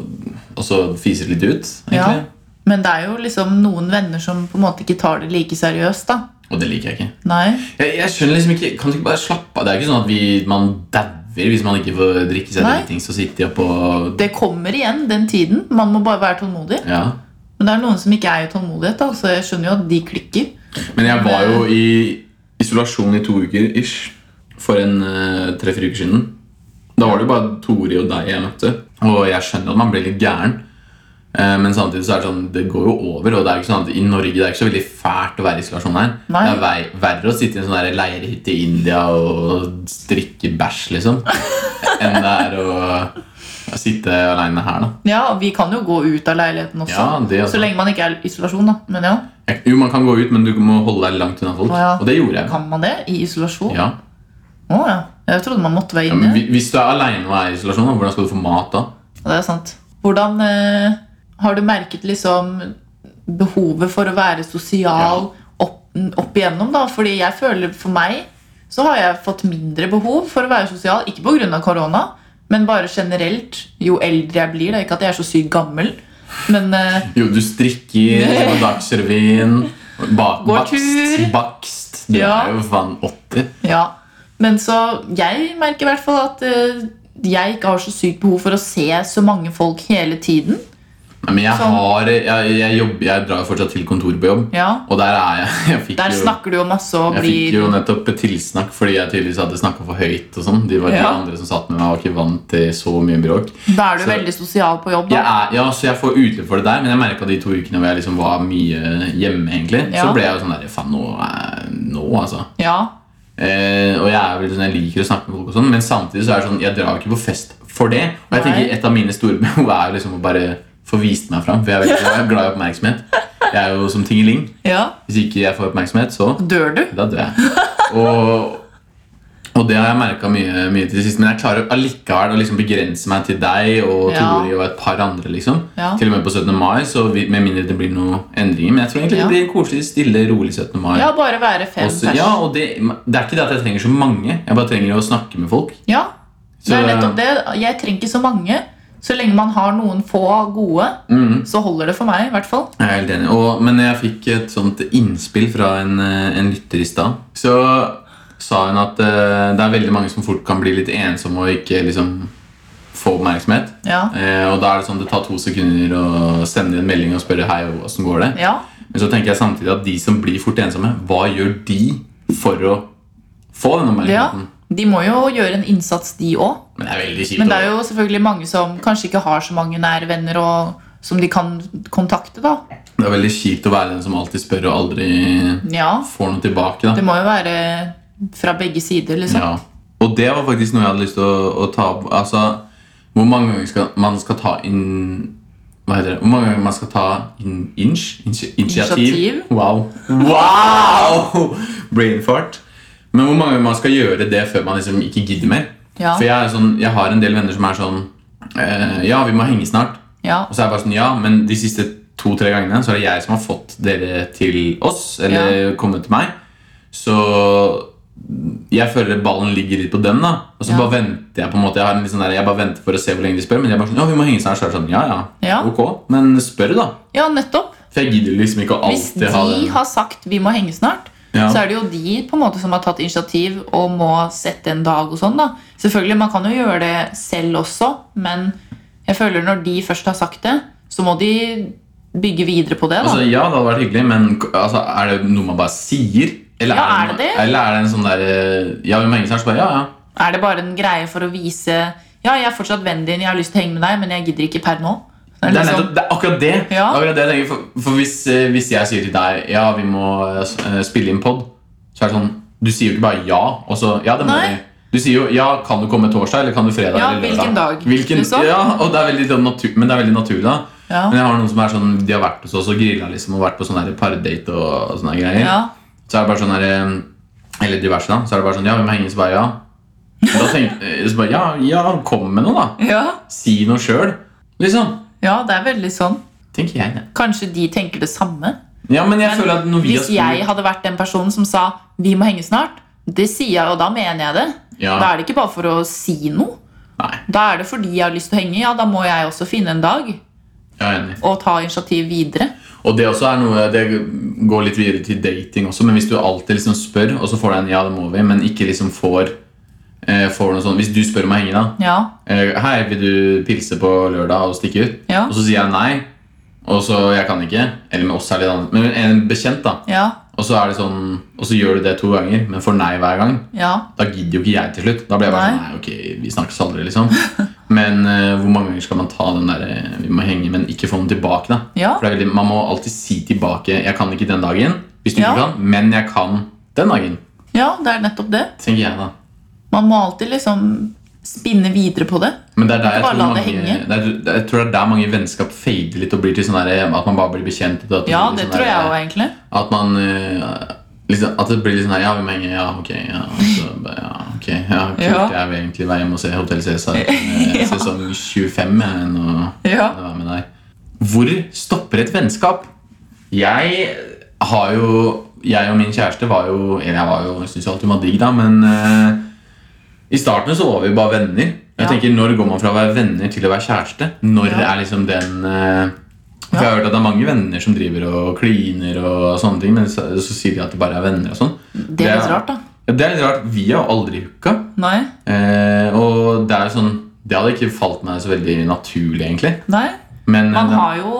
og så fiser det litt ut, ja. egentlig. Men det er jo liksom noen venner som på en måte ikke tar det like seriøst, da. Og det liker jeg ikke. Nei. Jeg, jeg skjønner liksom ikke, Kan du ikke bare slappe av? Det er ikke sånn at vi, man dauer hvis man ikke får drikke seg Nei. dritings og sitte oppå og Det kommer igjen, den tiden. Man må bare være tålmodig. ja. Men det er noen som ikke er i tålmodighet, da, så jeg skjønner jo at de klikker. Men jeg var jo i isolasjon i to uker ish for en eh, tre-fire uker siden. Da var det jo bare Tori og deg jeg møtte, og jeg skjønner at man blir litt gæren. Eh, Men samtidig så er det sånn, det går jo over, og det er jo ikke sånn at i Norge det er ikke så veldig fælt å være i isolasjon her. Nei. Det er vei, verre å sitte i en sånn der leirhytte i India og strikke bæsj, liksom, enn det er å, å sitte alene her, da. Ja, og Vi kan jo gå ut av leiligheten også, Ja, det også. så lenge man ikke er i isolasjon. da. Men ja, Jeg- Jo, man kan gå ut, men du må holde deg langt unna folk, Å, ja. og det gjorde jeg. Kan man det i isolasjon? Ja. Å ja. Jeg trodde man måtte være Ja, men inne. hvi- Hvis du er aleine og er i isolasjon, da, hvordan skal du få mat da? Ja, Det er sant. Hvordan eh, har du merket liksom behovet for å være sosial opp, opp igjennom, da? Fordi jeg føler for meg så har jeg fått mindre behov for å være sosial. Ikke pga. korona, men bare generelt. Jo eldre jeg blir, da. Ikke at jeg er så sykt gammel, men eh, Jo, du strikker, Nei. og Dagsrevyen, bak, Går bakst, tur. bakst. Du Ja. er jo faen 80. Ja, men så jeg merker i hvert fall at eh, jeg ikke har så sykt behov for å se så mange folk hele tiden. Nei, men jeg Sånn. har jeg, jeg, jobber, jeg drar jo fortsatt til kontor på jobb, Ja, og der er jeg. Jeg fikk, Der jo, snakker du jo masse og jeg fikk blir jo nettopp et tilsnakk fordi jeg tydeligvis hadde snakka for høyt. og sånn. De var de Ja. andre som satt med meg, var ikke vant til så mye bråk. Da er du så- veldig sosial på jobb. Jeg Da. er, ja, så jeg får utløp for det der, men jeg merka de to ukene hvor jeg liksom var mye hjemme, egentlig, så Ja. ble jeg jo sånn der Faen, nå, er- nå, altså. Ja, Eh, og jeg er vel sånn, jeg liker å snakke med folk, og sånn men samtidig så er det sånn, jeg drar jo ikke på fest for det. Og jeg Nei. tenker Et av mine store behov er jo liksom å bare få vist meg fram. For jeg er, veldig, jeg er glad i oppmerksomhet. Jeg er jo som tingeling. ja. Hvis ikke jeg får oppmerksomhet, så Dør du? da dør jeg. Og, og det har jeg merka mye, mye til det siste. Men jeg klarer allikevel å liksom begrense meg til deg og Ja. Tori og et par andre. liksom Ja. Til og med på 17. mai, så vi, med mindre det blir noen endringer. Men jeg tror egentlig Ja. det blir en koselig, stille, rolig 17. mai. Ja, bare være fem Og så- pers. ja, og det, det er ikke det at jeg trenger så mange. Jeg bare trenger å snakke med folk. Ja, det Så- er nettopp det. Jeg trenger ikke så mange. Så lenge man har noen få gode, Mhm, så holder det for meg. i hvert fall. jeg er helt enig. Og, men jeg fikk et sånt innspill fra en, eh, en lytter i stad. Så sa hun at eh, det er veldig mange som fort kan bli litt ensomme og ikke liksom få oppmerksomhet. Ja, Eh, og da er det sånn det tar to sekunder å sende en melding og spørre hei, åssen går det? ja, Men så tenker jeg samtidig at de som blir fort ensomme, hva gjør de for å få den ja. oppmerksomheten? De må jo gjøre en innsats, de òg. Men det er veldig kjipt. Men det å- er jo selvfølgelig mange som kanskje ikke har så mange nære venner og, som de kan kontakte. da. Det er veldig kjipt å være den som alltid spør og aldri Ja, får noe tilbake. Det Da. må jo være fra begge sider. liksom. Ja. Og det var faktisk noe jeg hadde lyst til å, å ta opp. Altså, hvor mange ganger skal, man skal ta inn Hva heter det? Hvor mange ganger man skal ta inn, inch? Inch- initiativ? Initiativ. Wow! wow! Brain fart. Men hvor mange ganger man skal gjøre det før man liksom ikke gidder mer? Ja. For jeg, er sånn, jeg har en del venner som er sånn eh, Ja, vi må henge snart. Ja. Og så er jeg bare sånn, ja, men de siste to-tre gangene Så er det jeg som har fått dere til oss Eller kommet til meg Så jeg føler ballen ligger litt på dem da Og så Ja. bare venter jeg på en måte jeg, har en litt sånn der, jeg bare venter for å se hvor lenge de spør Men jeg er bare sånn, ja, vi må henge snart Så er det sånn, ja, ja, Ja. ok Men spør da ja, nettopp. For jeg gidder liksom ikke å Hvis alltid de ha den har sagt 'vi må henge snart', Ja. så er det jo de på en måte som har tatt initiativ og må sette en dag. og sånn da. Selvfølgelig, Man kan jo gjøre det selv også, men jeg føler når de først har sagt det, så må de bygge videre på det. da. Altså, ja, det hadde vært hyggelig, men k- altså, er det noe man bare sier? Eller Ja, er noe- det det? Eller er det en sånn der, eh, ja, vi må henge snart Så bare, ja, ja Er det bare en greie for å vise 'ja, jeg er fortsatt vennen din, jeg har lyst til å henge med deg, men jeg gidder ikke per nå'? Det er Det er, liksom- nettopp, det er akkurat det. Ja. Akkurat det jeg tenker, for for hvis, eh, hvis jeg sier til deg Ja, vi må eh, spille inn pod, så er det sånn Du sier jo ikke bare ja, og så Ja, det må Nei. vi. Du sier jo ja, kan du komme torsdag, eller kan du fredag? Ja, eller lørdag? hvilken dag, Hvilken, liksom? Ja, og det er veldig sånn natur, Men det er veldig naturlig, da. Ja. Men jeg har noen som er sånn De har vært hos oss og grilla liksom, og vært på sånn her pardate og, og sånne greier. ja. Så er det bare sånn her eh, Eller diverse, da. Så er det bare sånn Ja, vi må henge, så bare ja. Da tenk, eh, så bare, ja, ja, kom med noe, da. Ja. Si noe sjøl, liksom. ja, det er veldig sånn. Tenker jeg, det. Kanskje de tenker det samme? Ja, men jeg Men føler at når vi har hvis spurt jeg hadde vært den personen som sa 'vi må henge snart', det sier jeg, og da mener jeg det. Ja. Da er det ikke bare for å si noe. Nei, Da er det fordi jeg har lyst til å henge. Ja, da må jeg også finne en dag jeg er enig. og ta initiativ videre. Og det også er noe, det går litt videre til dating også, men hvis du alltid liksom spør, og så får du en ja, det må vi, men ikke liksom får, eh, får noe sånn Hvis du spør om å henge, da. Ja, eh, Hei, vil du pilse på lørdag og stikke ut? Ja. Og så sier jeg nei, og så jeg kan ikke. Eller med oss er det litt annet. Men en bekjent, da. ja, Og så er det sånn, og så gjør du det to ganger, men får nei hver gang. ja. Da gidder jo ikke jeg til slutt. Da blir jeg bare sånn, Nei. nei, ok, vi snakkes aldri, liksom. Men eh, hvor mange ganger skal man ta den der eh, vi må henge, men ikke få den tilbake, da? Ja. For det er veldig, man må alltid si tilbake, jeg kan ikke den dagen, hvis du Ja. ikke kan, men jeg kan den dagen, Ja, det er nettopp det. tenker jeg da. Man må alltid liksom spinne videre på det. Men det er der jeg Ikke bare tror, la mange, det henge. det er, det- jeg tror det er der mange vennskap fader litt og blir til sånn der, at man bare blir bekjent. og At Ja, blir det sånn tror der, jeg òg, egentlig. At man eh, liksom, At det blir litt sånn her Ja, vi må henge, ja, ok Ja, og så, bare, ja ok Ja, kult, Ja. jeg vil egentlig være hjemme og se Hotel Cæsar eh, Ja. Sesong 25 jeg, enn å Ja. enn å være med deg Hvor stopper et vennskap? Jeg har jo Jeg og min kjæreste var jo Eller jeg var jo, jeg synes jo alltid hun var digg da Men eh, i starten så var vi bare venner Jeg Ja. tenker, når går man fra å være venner til å være kjæreste? Når Ja. er liksom den eh, for Ja. Jeg har hørt at det er mange venner som driver og kliner og sånne ting, men så, så sier de at de bare er venner og sånn. Det er litt rart, da. Ja, det er litt rart. Vi har jo aldri hooka. Nei. Eh, og det er jo sånn Det hadde ikke falt meg så veldig naturlig, egentlig. Nei. Men Man eh, har jo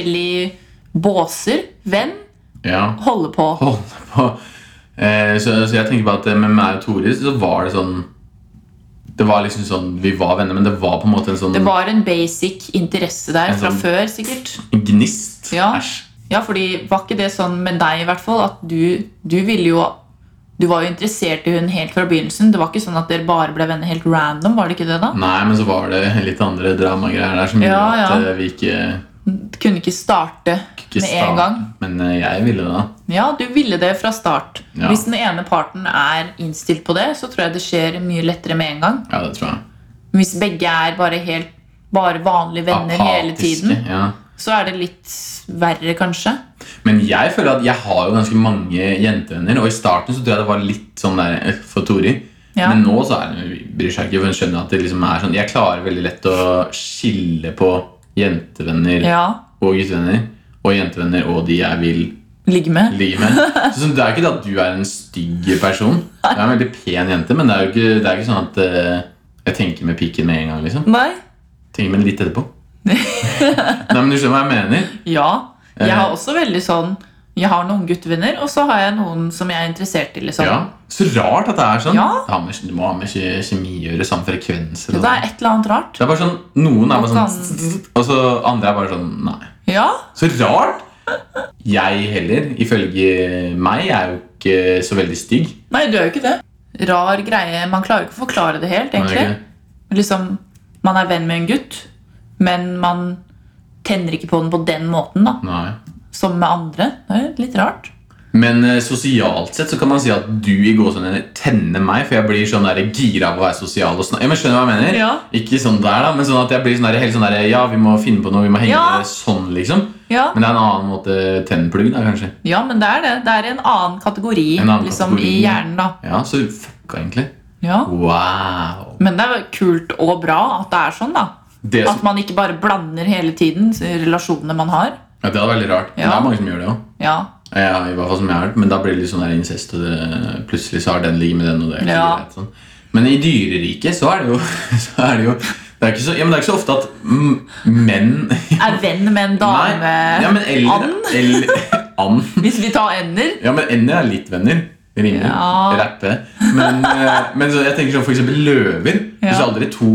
forskjellige båser. Venn, ja, holde på. holde på. Eh, så, så jeg tenker på at eh, med meg og Tore så var det sånn Det var liksom sånn Vi var venner, men det var på en måte en sånn Det var en basic interesse der En fra sånn- før, sikkert. gnist. Ja. Æsj. Ja, fordi var ikke det sånn med deg i hvert fall at du, du ville jo Du var jo interessert i hun helt fra begynnelsen. Det var ikke sånn at dere bare ble venner helt random, var det ikke det da? Nei, men så var det litt andre dramagreier der som gjorde Ja, ja. at eh, vi ikke Du kunne ikke starte ikke med en start, gang. Men eh, jeg ville det, da. Ja, du ville det fra start. Ja. Hvis den ene parten er innstilt på det, så tror jeg det skjer mye lettere med en gang. Ja, det tror jeg. Men Hvis begge er bare helt bare vanlige venner hele Apatiske, tiden, Ja. så er det litt verre, kanskje. Men jeg føler at jeg har jo ganske mange jentevenner, og i starten så tror jeg det var litt sånn der eh, for Tori. Ja. Men nå så er det, bryr seg ikke, for hun skjønner at det liksom er sånn Jeg klarer veldig lett å skille på jentevenner Ja. og guttevenner. Og jentevenner og de jeg vil Ligge med. ligge med. Så sånn, det er ikke det at du er en stygg person. Jeg er en veldig pen jente, men det er jo ikke, det er ikke sånn at eh, jeg tenker med pikken med en gang. liksom Nei. Tenker meg litt etterpå. Nei, men Du skjønner hva jeg mener? Ja. Jeg Eh. har også veldig sånn Jeg har noen guttevenner, og så har jeg noen som jeg er interessert i. liksom. Ja. Så rart at det er sånn. Ja. Det, har med, det må ha med ke- kjemi å gjøre, samme frekvenser. Og Det er sånn. et eller annet rart. det er bare sånn, Noen er bare Man sånn Og så andre er bare sånn Nei. Ja, Så rart! Jeg heller, ifølge meg, er jo ikke så veldig stygg. Nei, du er jo ikke det. Rar greie. Man klarer ikke å forklare det helt. Men jeg egentlig. er ikke- Liksom, Man er venn med en gutt, men man tenner ikke på den på den måten. da. Nei. Som med andre. Det er jo litt rart. Men eh, sosialt sett så kan man si at du i gåsehudene tenner meg, for jeg blir sånn der gira av å være sosial. og snak- ja, men Skjønner du hva jeg mener? Ja. Ikke sånn der, da, men sånn at jeg blir sånn der, helt sånn der Ja, vi må finne på noe, vi må henge Ja. sånn, liksom. Ja. Men det er en annen måte tennplugg, da, kanskje. ja, men det er det. Det er en annen kategori En annen liksom, kategori. i hjernen. da. Ja, så fucka, egentlig. Ja. Wow. Men det er kult og bra at det er sånn. da. Det, At som, man ikke bare blander hele tiden relasjonene man har. ja, det er veldig rart. Men Ja. Det er mange som gjør det òg. Ja, Ja, i hvert fall som jeg har hørt, men da blir det litt sånn der incest, og det, plutselig så har den ligget med den, og det er ikke Ja. greit. Sånn. Men i dyreriket så er det jo, så er det, jo det, er ikke så, ja, men det er ikke så ofte at mm, menn Er venn med en dame Nei, ja, men eller, And? Eller, and. Hvis vi tar ender? Ja, men ender er litt venner. Ringe, Ja. rappe. Men, eh, men så jeg tenker sånn for eksempel løver. Det Ja. er aldri to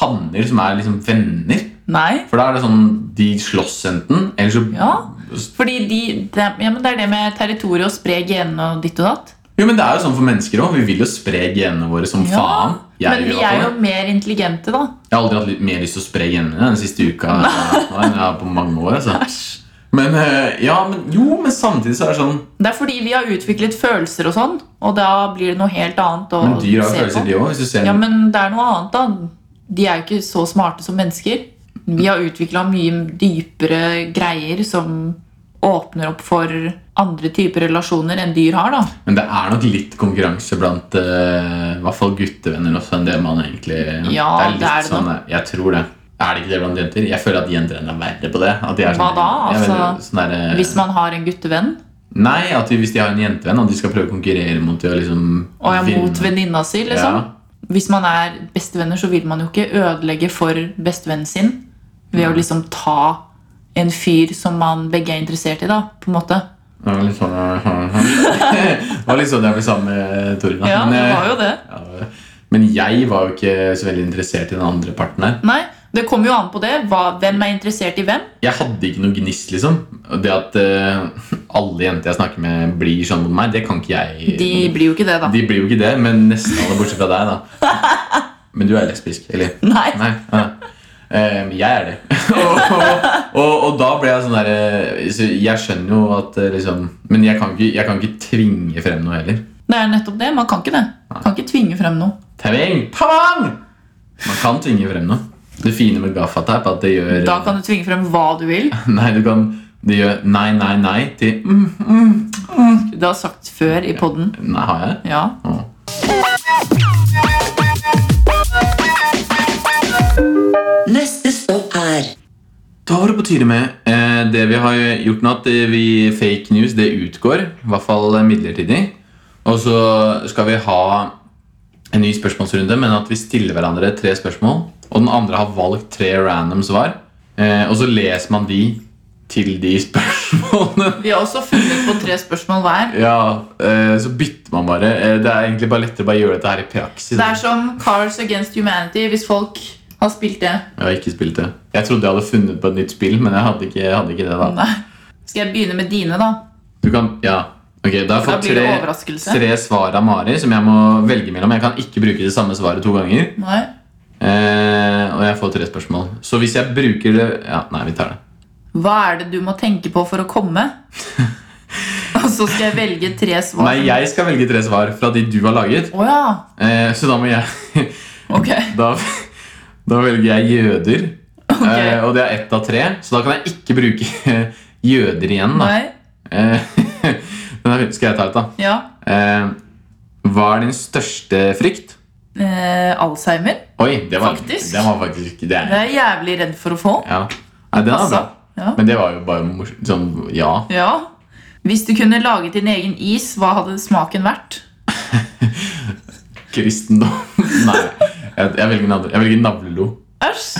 hanner som er liksom venner. Nei. For da er det sånn, de slåss enten, eller så Ja. Fordi de, de, ja, men Det er det med territoriet og spre genene og ditt og datt. Jo, men det er jo sånn for mennesker òg. Vi vil jo spre genene våre som Ja. faen. Jeg, men gjør i vi hvert fall er jo det. mer intelligente, da. jeg har aldri hatt litt mer lyst til å spre genene den siste uka Nei, ja, på mange år. Altså. Æsj. Men, eh, ja, men jo, men samtidig så er det sånn Det er fordi vi har utviklet følelser og sånn, og da blir det noe helt annet å Men dyr har jo se følelser, de på. òg. Hvis du ser Ja, men det er noe annet, da. De er jo ikke så smarte som mennesker. Vi har utvikla mye dypere greier som åpner opp for andre typer relasjoner enn dyr har. da. Men det er nok litt konkurranse blant eh, i hvert fall guttevenner også enn det man egentlig Ja, Det er litt det er det sånn, Jeg tror det. Er det ikke det blant jenter? Jeg føler at jenter er verre på det. At de er Hva da, jeg vet, altså? sånn der, eh, Hvis man har en guttevenn, Nei, at de, hvis de har en jentevenn og de skal prøve å konkurrere mot de og liksom og er vinne. mot venninna si, liksom. Ja. Hvis man er bestevenner, så vil man jo ikke ødelegge for bestevennen sin ved å liksom ta en fyr som man begge er interessert i, da, på en måte. Det var litt sånn Det var litt sånn jeg ble sammen med Torunn. da. Ja, Men, det eh, var jo det. ja, men jeg var jo ikke så veldig interessert i den andre parten her. Nei, det kommer jo an på det. Hva, hvem er interessert i hvem? Jeg hadde ikke noe gnist, liksom. Og Det at eh, alle jenter jeg snakker med, blir sånn mot meg, det kan ikke jeg De blir jo ikke det, da. De blir jo ikke det, men nesten alle bortsett fra deg, da. Men du er lesbisk, eller? Nei. Nei. Ja. Eh, jeg er det. og, og, og, og da ble jeg sånn derre Jeg skjønner jo at eh, liksom Men jeg kan ikke, jeg kan ikke tvinge frem noe heller. Det er nettopp det. Man kan ikke det. Kan ikke tvinge frem noe. Tving! Tvang! Man kan tvinge frem noe. Det fine med gaffateip er at det gjør Da kan du tvinge frem hva du vil. Nei, du kan Det gjør nei, nei, nei til mm. Det har jeg sagt før i podden. Nei, har jeg? Ja. Åh. Neste stopp er Da var det på tide med eh, det vi har gjort nå, at eh, vi, fake news det utgår. I hvert fall eh, midlertidig. Og så skal vi ha en ny spørsmålsrunde, men at vi stiller hverandre tre spørsmål. Og den andre har valgt tre random svar. Eh, og så leser man de til de spørsmålene. Vi har også funnet på tre spørsmål hver. Ja, eh, så bytter man bare. Eh, det er egentlig bare lettere å bare gjøre dette her i praksis. Det er som Cars Against Humanity, hvis folk har spilt det. Jeg har ikke spilt det. Jeg trodde jeg hadde funnet på et nytt spill, men jeg hadde ikke, jeg hadde ikke det da. Nei. Skal jeg begynne med dine, da? Du kan, ja Ok, da har jeg Da fått blir det tre, overraskelse. tre svar av Mari Som jeg må velge mellom Jeg kan ikke bruke det samme svaret to ganger Nei. eh, Og jeg får tre spørsmål Så hvis jeg bruker det Ja, nei, vi tar det Hva er det du må tenke på for å komme? Og så skal jeg velge tre svar. Nei, jeg skal velge tre svar fra de du har laget Å ja. eh, Så da må jeg Ok. da, da velger jeg jøder Ok. eh, Og det er ett av tre Så da kan jeg ikke bruke jøder igjen da. Nei. Eh, den er- Skal jeg ta ut da Ja. eh, Hva er din største frykt? Eh, Alzheimer. Oi, det var Faktisk. Det var faktisk ikke det er- Det er jeg jævlig redd for å få. Ja. Nei, den er Altså, bra. ja. Men det var jo bare morsomt. Sånn, ja. ja. Hvis du kunne laget din egen is, hva hadde smaken vært? Kristendom. Nei. Jeg, jeg velger navle- jeg velger navlelo. Æsj!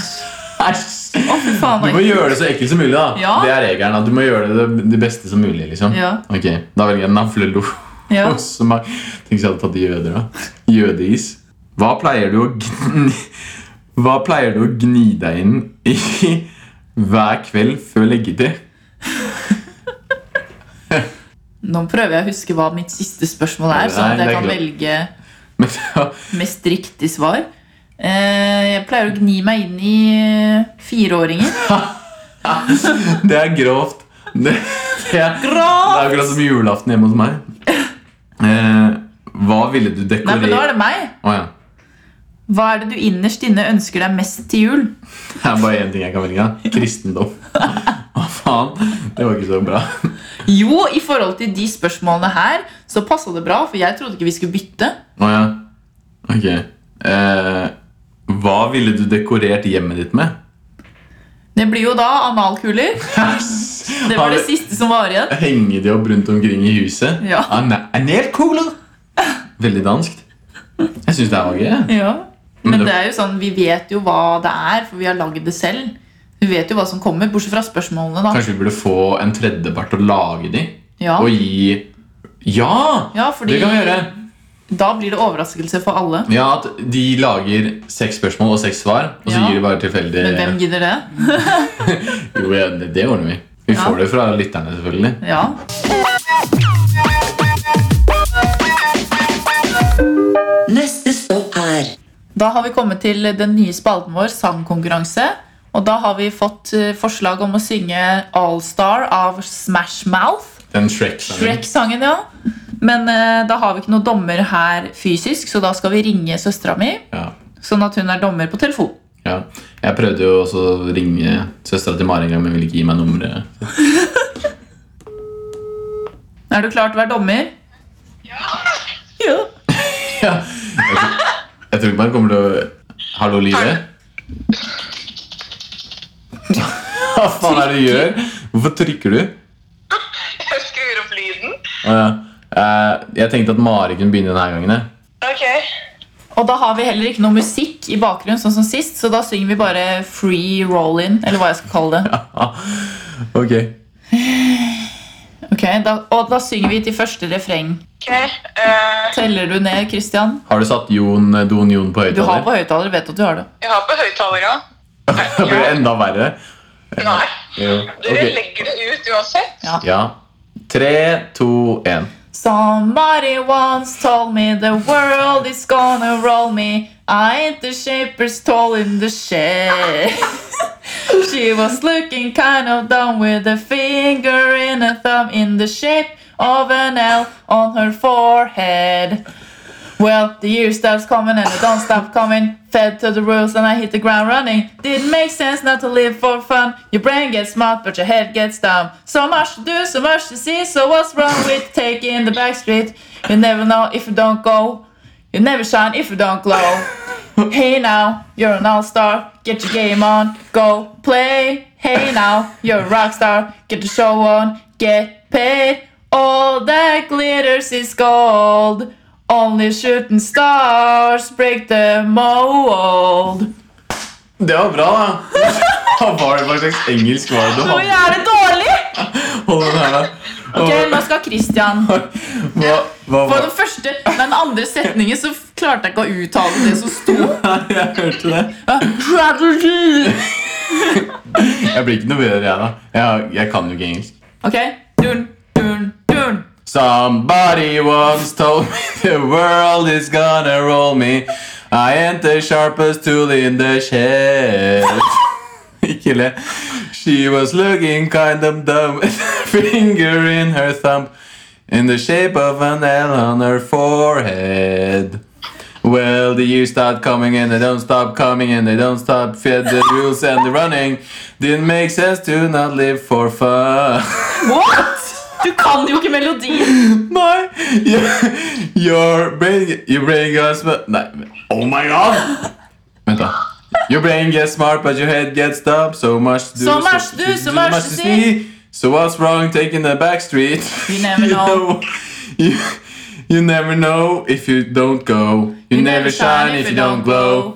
Æsj! Å, fy faen. Du må gjøre det så ekkelt som mulig. da Oh Ja. Det er regelen. at Du må gjøre det det- det beste som mulig. liksom Ja. Ok, Da velger jeg navlelo. Ja. Og så ma- Tenk hvis jeg hadde tatt jøder, da. Jødeis. Hva pleier du å gni Hva pleier du å gni deg inn i hver kveld før leggetid? Nå prøver jeg å huske hva mitt siste spørsmål er, Nei, sånn at det jeg er kan klart. velge Men da- mest riktig svar. Eh, Jeg pleier å gni meg inn i eh, fireåringer. Det er grovt. Det, det, er, det er akkurat som julaften hjemme hos meg. Eh, hva ville du Nei, men nå dekorere er det meg. Å ja. Hva er det du innerst inne ønsker deg mest til jul? Det er bare én ting jeg kan velge. da. Kristendom. Hva faen? Det var ikke så bra. Jo, i forhold til de spørsmålene her, så passa det bra, for jeg trodde ikke vi skulle bytte. Å ja. Ok. Eh, hva ville du dekorert hjemmet ditt med? Det blir jo da analkuler. Det var Har det du- siste som var igjen. Henge de opp rundt omkring i huset? Ah, Ja. Ana- Analkoler! Veldig danskt. Jeg syns det er gøy. jeg. Ja. Men Men det- det er jo sånn, vi vet jo hva det er, for vi har lagd det selv. Vi vet jo hva som kommer, bortsett fra spørsmålene, da. Kanskje vi burde få en tredjepart til å lage de? Ja, Og gi Ja! ja fordi Det kan vi gjøre. da blir det overraskelse for alle. Ja, at De lager seks spørsmål og seks svar, og så Ja. gir de bare tilfeldig Men hvem gidder det? Jo, ja, det- Det ordner vi. Vi Ja. får det fra lytterne, selvfølgelig. Ja. Neste stopp er Da har vi kommet til den nye spalten vår, sangkonkurranse. Og da har vi fått eh, forslag om å synge All Star av Smash Mouth. Den Shrek-sangen. Shrek-sangen, ja. Men eh, da har vi ikke noen dommer her fysisk, så da skal vi ringe søstera mi. Ja. Sånn at hun er dommer på telefon. Ja. Jeg prøvde jo også å ringe søstera til Mari en gang, men ville ikke gi meg nummeret. Er du klar til å være dommer? Ja. Ja. Jeg tror- Jeg tror ikke man kommer til å Hallo, livet? Hva faen er det du gjør? Hvorfor trykker du? Jeg skrur opp lyden. Å, ja. Eh, Jeg tenkte at Mari kunne begynne denne gangen. jeg. Ok. Og da har vi heller ikke noe musikk i bakgrunnen, sånn som sist, så da synger vi bare free roll-in, eller hva jeg skal kalle det. Ok. Ok, da, Og da synger vi til første refreng. ok. Eh, Teller du ned, Christian? Har du satt Jon, eh, Don Jon på Du har høyttaler? på høyttaler, vet at du har det. jeg har på høyttalere. Det blir enda verre. Nei. Jo. Dere Ok. legger det ut uansett. Ja. Tre, to, én. Somebody once told me the world is gonna roll me. I ain't the shapers tall in the shade. she was looking kind of dumb with a finger and a thumb in the shape of an L on her forehead. Well, the years stops coming and it don't stop coming. Fed to the rules and I hit the ground running. Didn't make sense not to live for fun. Your brain gets smart, but your head gets dumb. So much to do, so much to see. So what's wrong with taking the back street? You never know if you don't go. You never shine if you don't glow. Hey now, you're an all-star. Get your game on, go play. Hey now, you're a rock star. Get the show on, get paid. All that glitters is gold. Only shooting stars break the mold. Det var bra, da. Hva var det for slags engelsk var det du Nå hadde? er det dårlig! Hold den her, da. Ok, nå skal Christian. Hva, hva, På hva? den første, men den andre setningen så klarte jeg ikke å uttale det som sto. Jeg hørte det. Jeg blir ikke noe bedre, jeg, da. Jeg, jeg kan jo ikke engelsk. Ok, dun, dun, dun. Somebody once told me the world is gonna roll me. I ain't the sharpest tool in the shed. Ikke le. She was looking kind of dumb with her finger in her thumb in the shape of an L on her forehead. Well, the years start coming and they don't stop coming and they don't stop fed the rules and the running. Didn't make sense to not live for fun. What? Du kan jo ikke melodien. Nei! Your- Your brain, your brain gets smart Nei. men- Oh my god! Vent, da. Your brain gets smart, but your head gets dumb. So much to do, So much to do, so much to see. So what's wrong taking the back street? You never know. you, you never know if you don't go. You, never shine if you don't glow.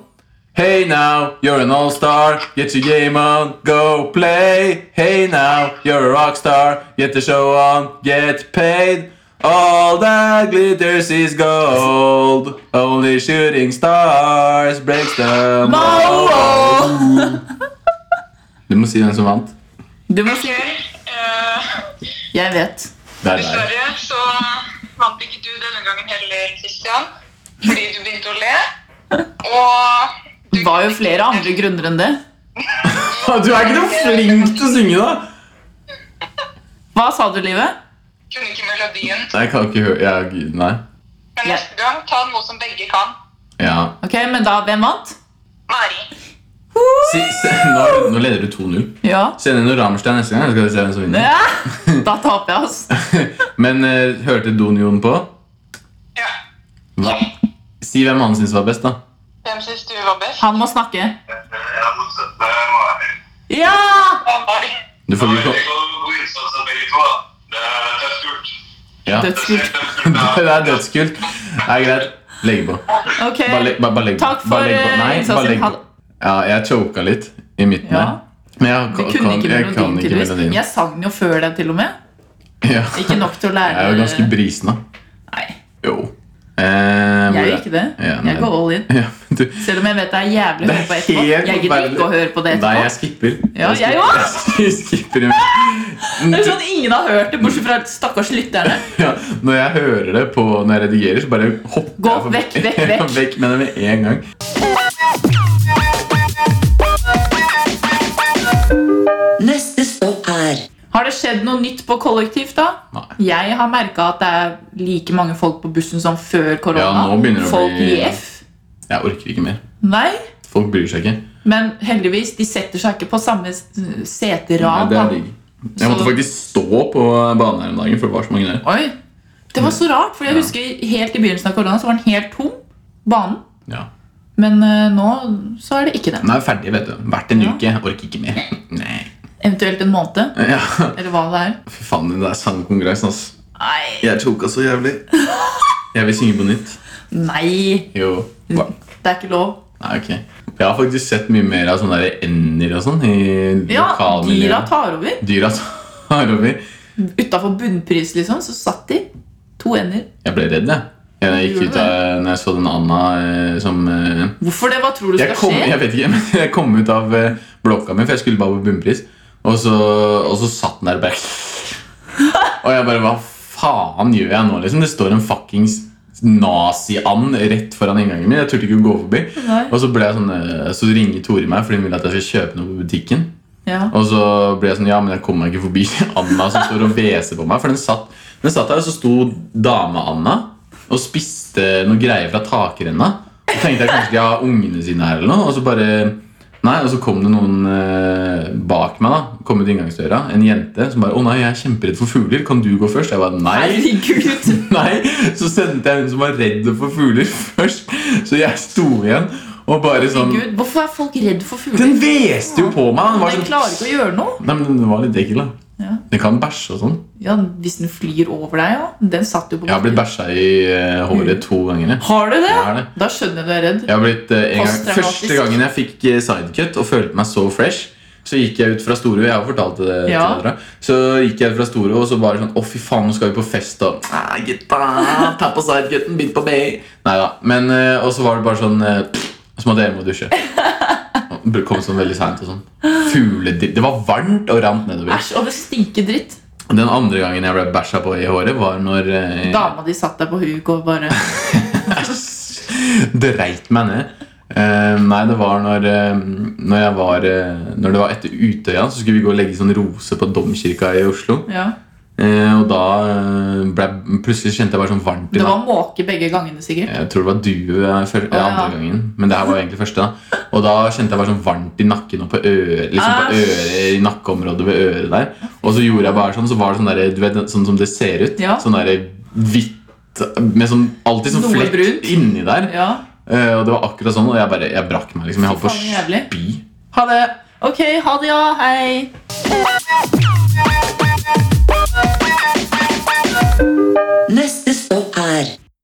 Hey now, you're an all-star. Get your game on, go play. Hey now, you're a rock star. Get the show on, get paid. All that glitters is gold. Only shooting stars breaks the mold. Du må si hvem som vant. Du må si Eh, Jeg vet. Det er deg. dessverre så vant ikke du denne gangen heller, Christian. Fordi du begynte å le. Og Det var jo flere andre grunner enn det. Du er ikke noe flink til å synge, da. Hva sa du, Livet? kunne ikke melodien. Nei, Jeg kan ikke høre jeg, Nei. Men neste gang, ta noe som begge kan. Ja. Ok, men da, hvem vant? Mari. Si, se, nå, er du- nå leder du 2-0. Ja. Send inn noe Rammstein neste gang, så skal vi se hvem som vinner. ja. Da taper jeg, altså. Men eh, hørte Don Jon på? Ja. Hva? Si hvem han syns var best, da. Hvem syns du var best? Han må snakke. Eh, Jeg motsetter meg Mari. Ja! Ja, Mari. Du får Jeg ikke vet ikke om hvor innsatsen er sånn begge to. da. Det er tøft gjort. ja. Det Dødskult. er dødskult. Det er greit. Legg på. Ok. Bare, legg- bare, bare legg på. Takk for, Bare legg på. Nei, eh, innsatsen. bare legg på. Ja, jeg choka litt i midten Ja. der. Men jeg Du kan, kunne ikke jeg kan melodien, ikke tydeligvis. melodien. Jeg sang jo før det, til og med. Ja. Ikke nok til å Jeg lære er jo ganske brisen, da. Nei, Jo. Eh, jeg hvor gjør ikke det. Ja, nei. Jeg går all in. Ja, men du, Selv om jeg vet det er jævlig å høre på etterpå. helt Jeg gidder ikke å høre på det Nei, jeg etterpå. skipper. Ja, jeg skipper. Jeg skipper. Det er sånn Ingen har hørt det, bortsett fra stakkars lytterne. Ja, når jeg hører det på når jeg redigerer, så bare hopper Gå jeg forbi- vekk, vekk, vekk. vekk med det med en gang. Neste stopp er Har det skjedd noe nytt på kollektiv, da? Nei. Jeg har merka at det er like mange folk på bussen som før korona. Ja, nå begynner det å folk bli- i F. Jeg orker ikke mer. Nei, Folk bryr seg ikke. men heldigvis, de setter seg ikke på samme s- Nei, seterad. det er da. digg. Jeg måtte faktisk stå på banen her om dagen, for det var så mange der. Oi! Det var så rart, for jeg husker helt i begynnelsen av korona så var den helt tom. Banen. Ja. Men eh, nå så er det ikke den. Den er ferdig, vet du. Hvert en Ja. uke. Orker ikke mer. Nei. Eventuelt en måned, Ja, eller hva det er. Fy faen, den der sangkonkurransen, ass. Nei! Jeg choka så jævlig. Jeg vil synge på nytt. Nei! Jo. Mm. Hva? Det er ikke lov. Nei, ok. Jeg har faktisk sett mye mer av sånne der ender og sånn i Ja, dyra lokalmiljøet. tar over. Dyra tar over. Utafor bunnpris, liksom, så satt de. To ender. Jeg ble redd, jeg. Jeg gikk Gjorde ut av når jeg så den Anna eh, som eh, Hvorfor det? Hva tror du jeg, skal kom, skje? jeg vet ikke, men jeg kom ut av eh, blokka mi, for jeg skulle bare på bunnpris. Og så, og så satt den der bak. Og jeg bare Hva faen gjør jeg nå, liksom? Det står en fuckings nazi-and rett foran inngangen min. Jeg turte ikke å gå forbi. Nei. Og så, ble jeg sånn, eh, så ringer Tore meg, for hun vil at jeg skal kjøpe noe på butikken. Ja. Og så ble jeg sånn, ja, men jeg kommer meg ikke forbi Anna som står og veser på meg. For den satt, den satt der, og så sto dame-Anna og spiste noe greier fra takrenna. Og tenkte jeg kanskje de har ungene sine her, eller noe. Og så bare Nei, og så kom det noen eh, bak meg. da Kom ut inngangsdøra, En jente som bare 'Å nei, jeg er kjemperedd for fugler. Kan du gå først?' Jeg bare 'Nei'. Sånn. Herregud. Nei, Så sendte jeg hun som var redd for fugler, først. Så jeg sto igjen og bare sånn Herregud. Hvorfor er folk redd for fugler? Den hveste jo på meg. Den var sånn Den klarer ikke å gjøre noe. Nei, men den var litt ekkel, da. Ja. Den kan bæsje og sånn. Ja, Hvis den flyr over deg, ja. Den satt jo på Jeg har blitt bæsja i eh, Mm. håret to ganger. jeg. Har du det? Jeg har det. Da skjønner jeg du er redd. Jeg har blitt, eh, en gang, Posttraumatisk. første gangen jeg fikk eh, sidecut og følte meg så fresh, så gikk jeg ut fra Storo. Jeg har fortalt det Ja. til dere. Så gikk jeg ut fra Storo, og så bare sånn Å, fy faen, nå skal vi på fest, og «Ah, gutta, ta på sidecuten, bind på B. Nei da. Men, eh, og så var det bare sånn eh, pff, Og så måtte jeg hjem og dusje. Og Kom sånn veldig seint og sånn. Fugleditt. Det var varmt og rant nedover. Æsj, og det stinker dritt. Den andre gangen jeg ble bæsja på i håret, var når eh, Dama di satt der på huk og bare Dreit meg ned. Eh, nei, det var når, eh, når jeg var eh, Når det var etter Utøya, så skulle vi gå og legge sånn rose på domkirka i Oslo. Ja. Eh, og da eh, ble, plutselig kjente jeg bare sånn varmt i Det var nakken. måke begge gangene, sikkert. Jeg tror det var due eh, før- Å, eh, ja. andre gangen, men det her var egentlig første. da Og da kjente jeg bare sånn varmt i nakken og på øret. Liksom på Æsj. øret I nakkeområdet ved øret der. Og så gjorde jeg bare sånn, så var det sånn der, du vet, sånn som det ser ut. Ja. Sånn derre hvitt med sånn, alltid sånn Noe flekk brunt. inni der. Ja. Eh, og det var akkurat sånn, og jeg bare, jeg brakk meg liksom. Jeg holdt på Faen, jævlig. å spy. Ha det. Ok, ha det, ja. Hei.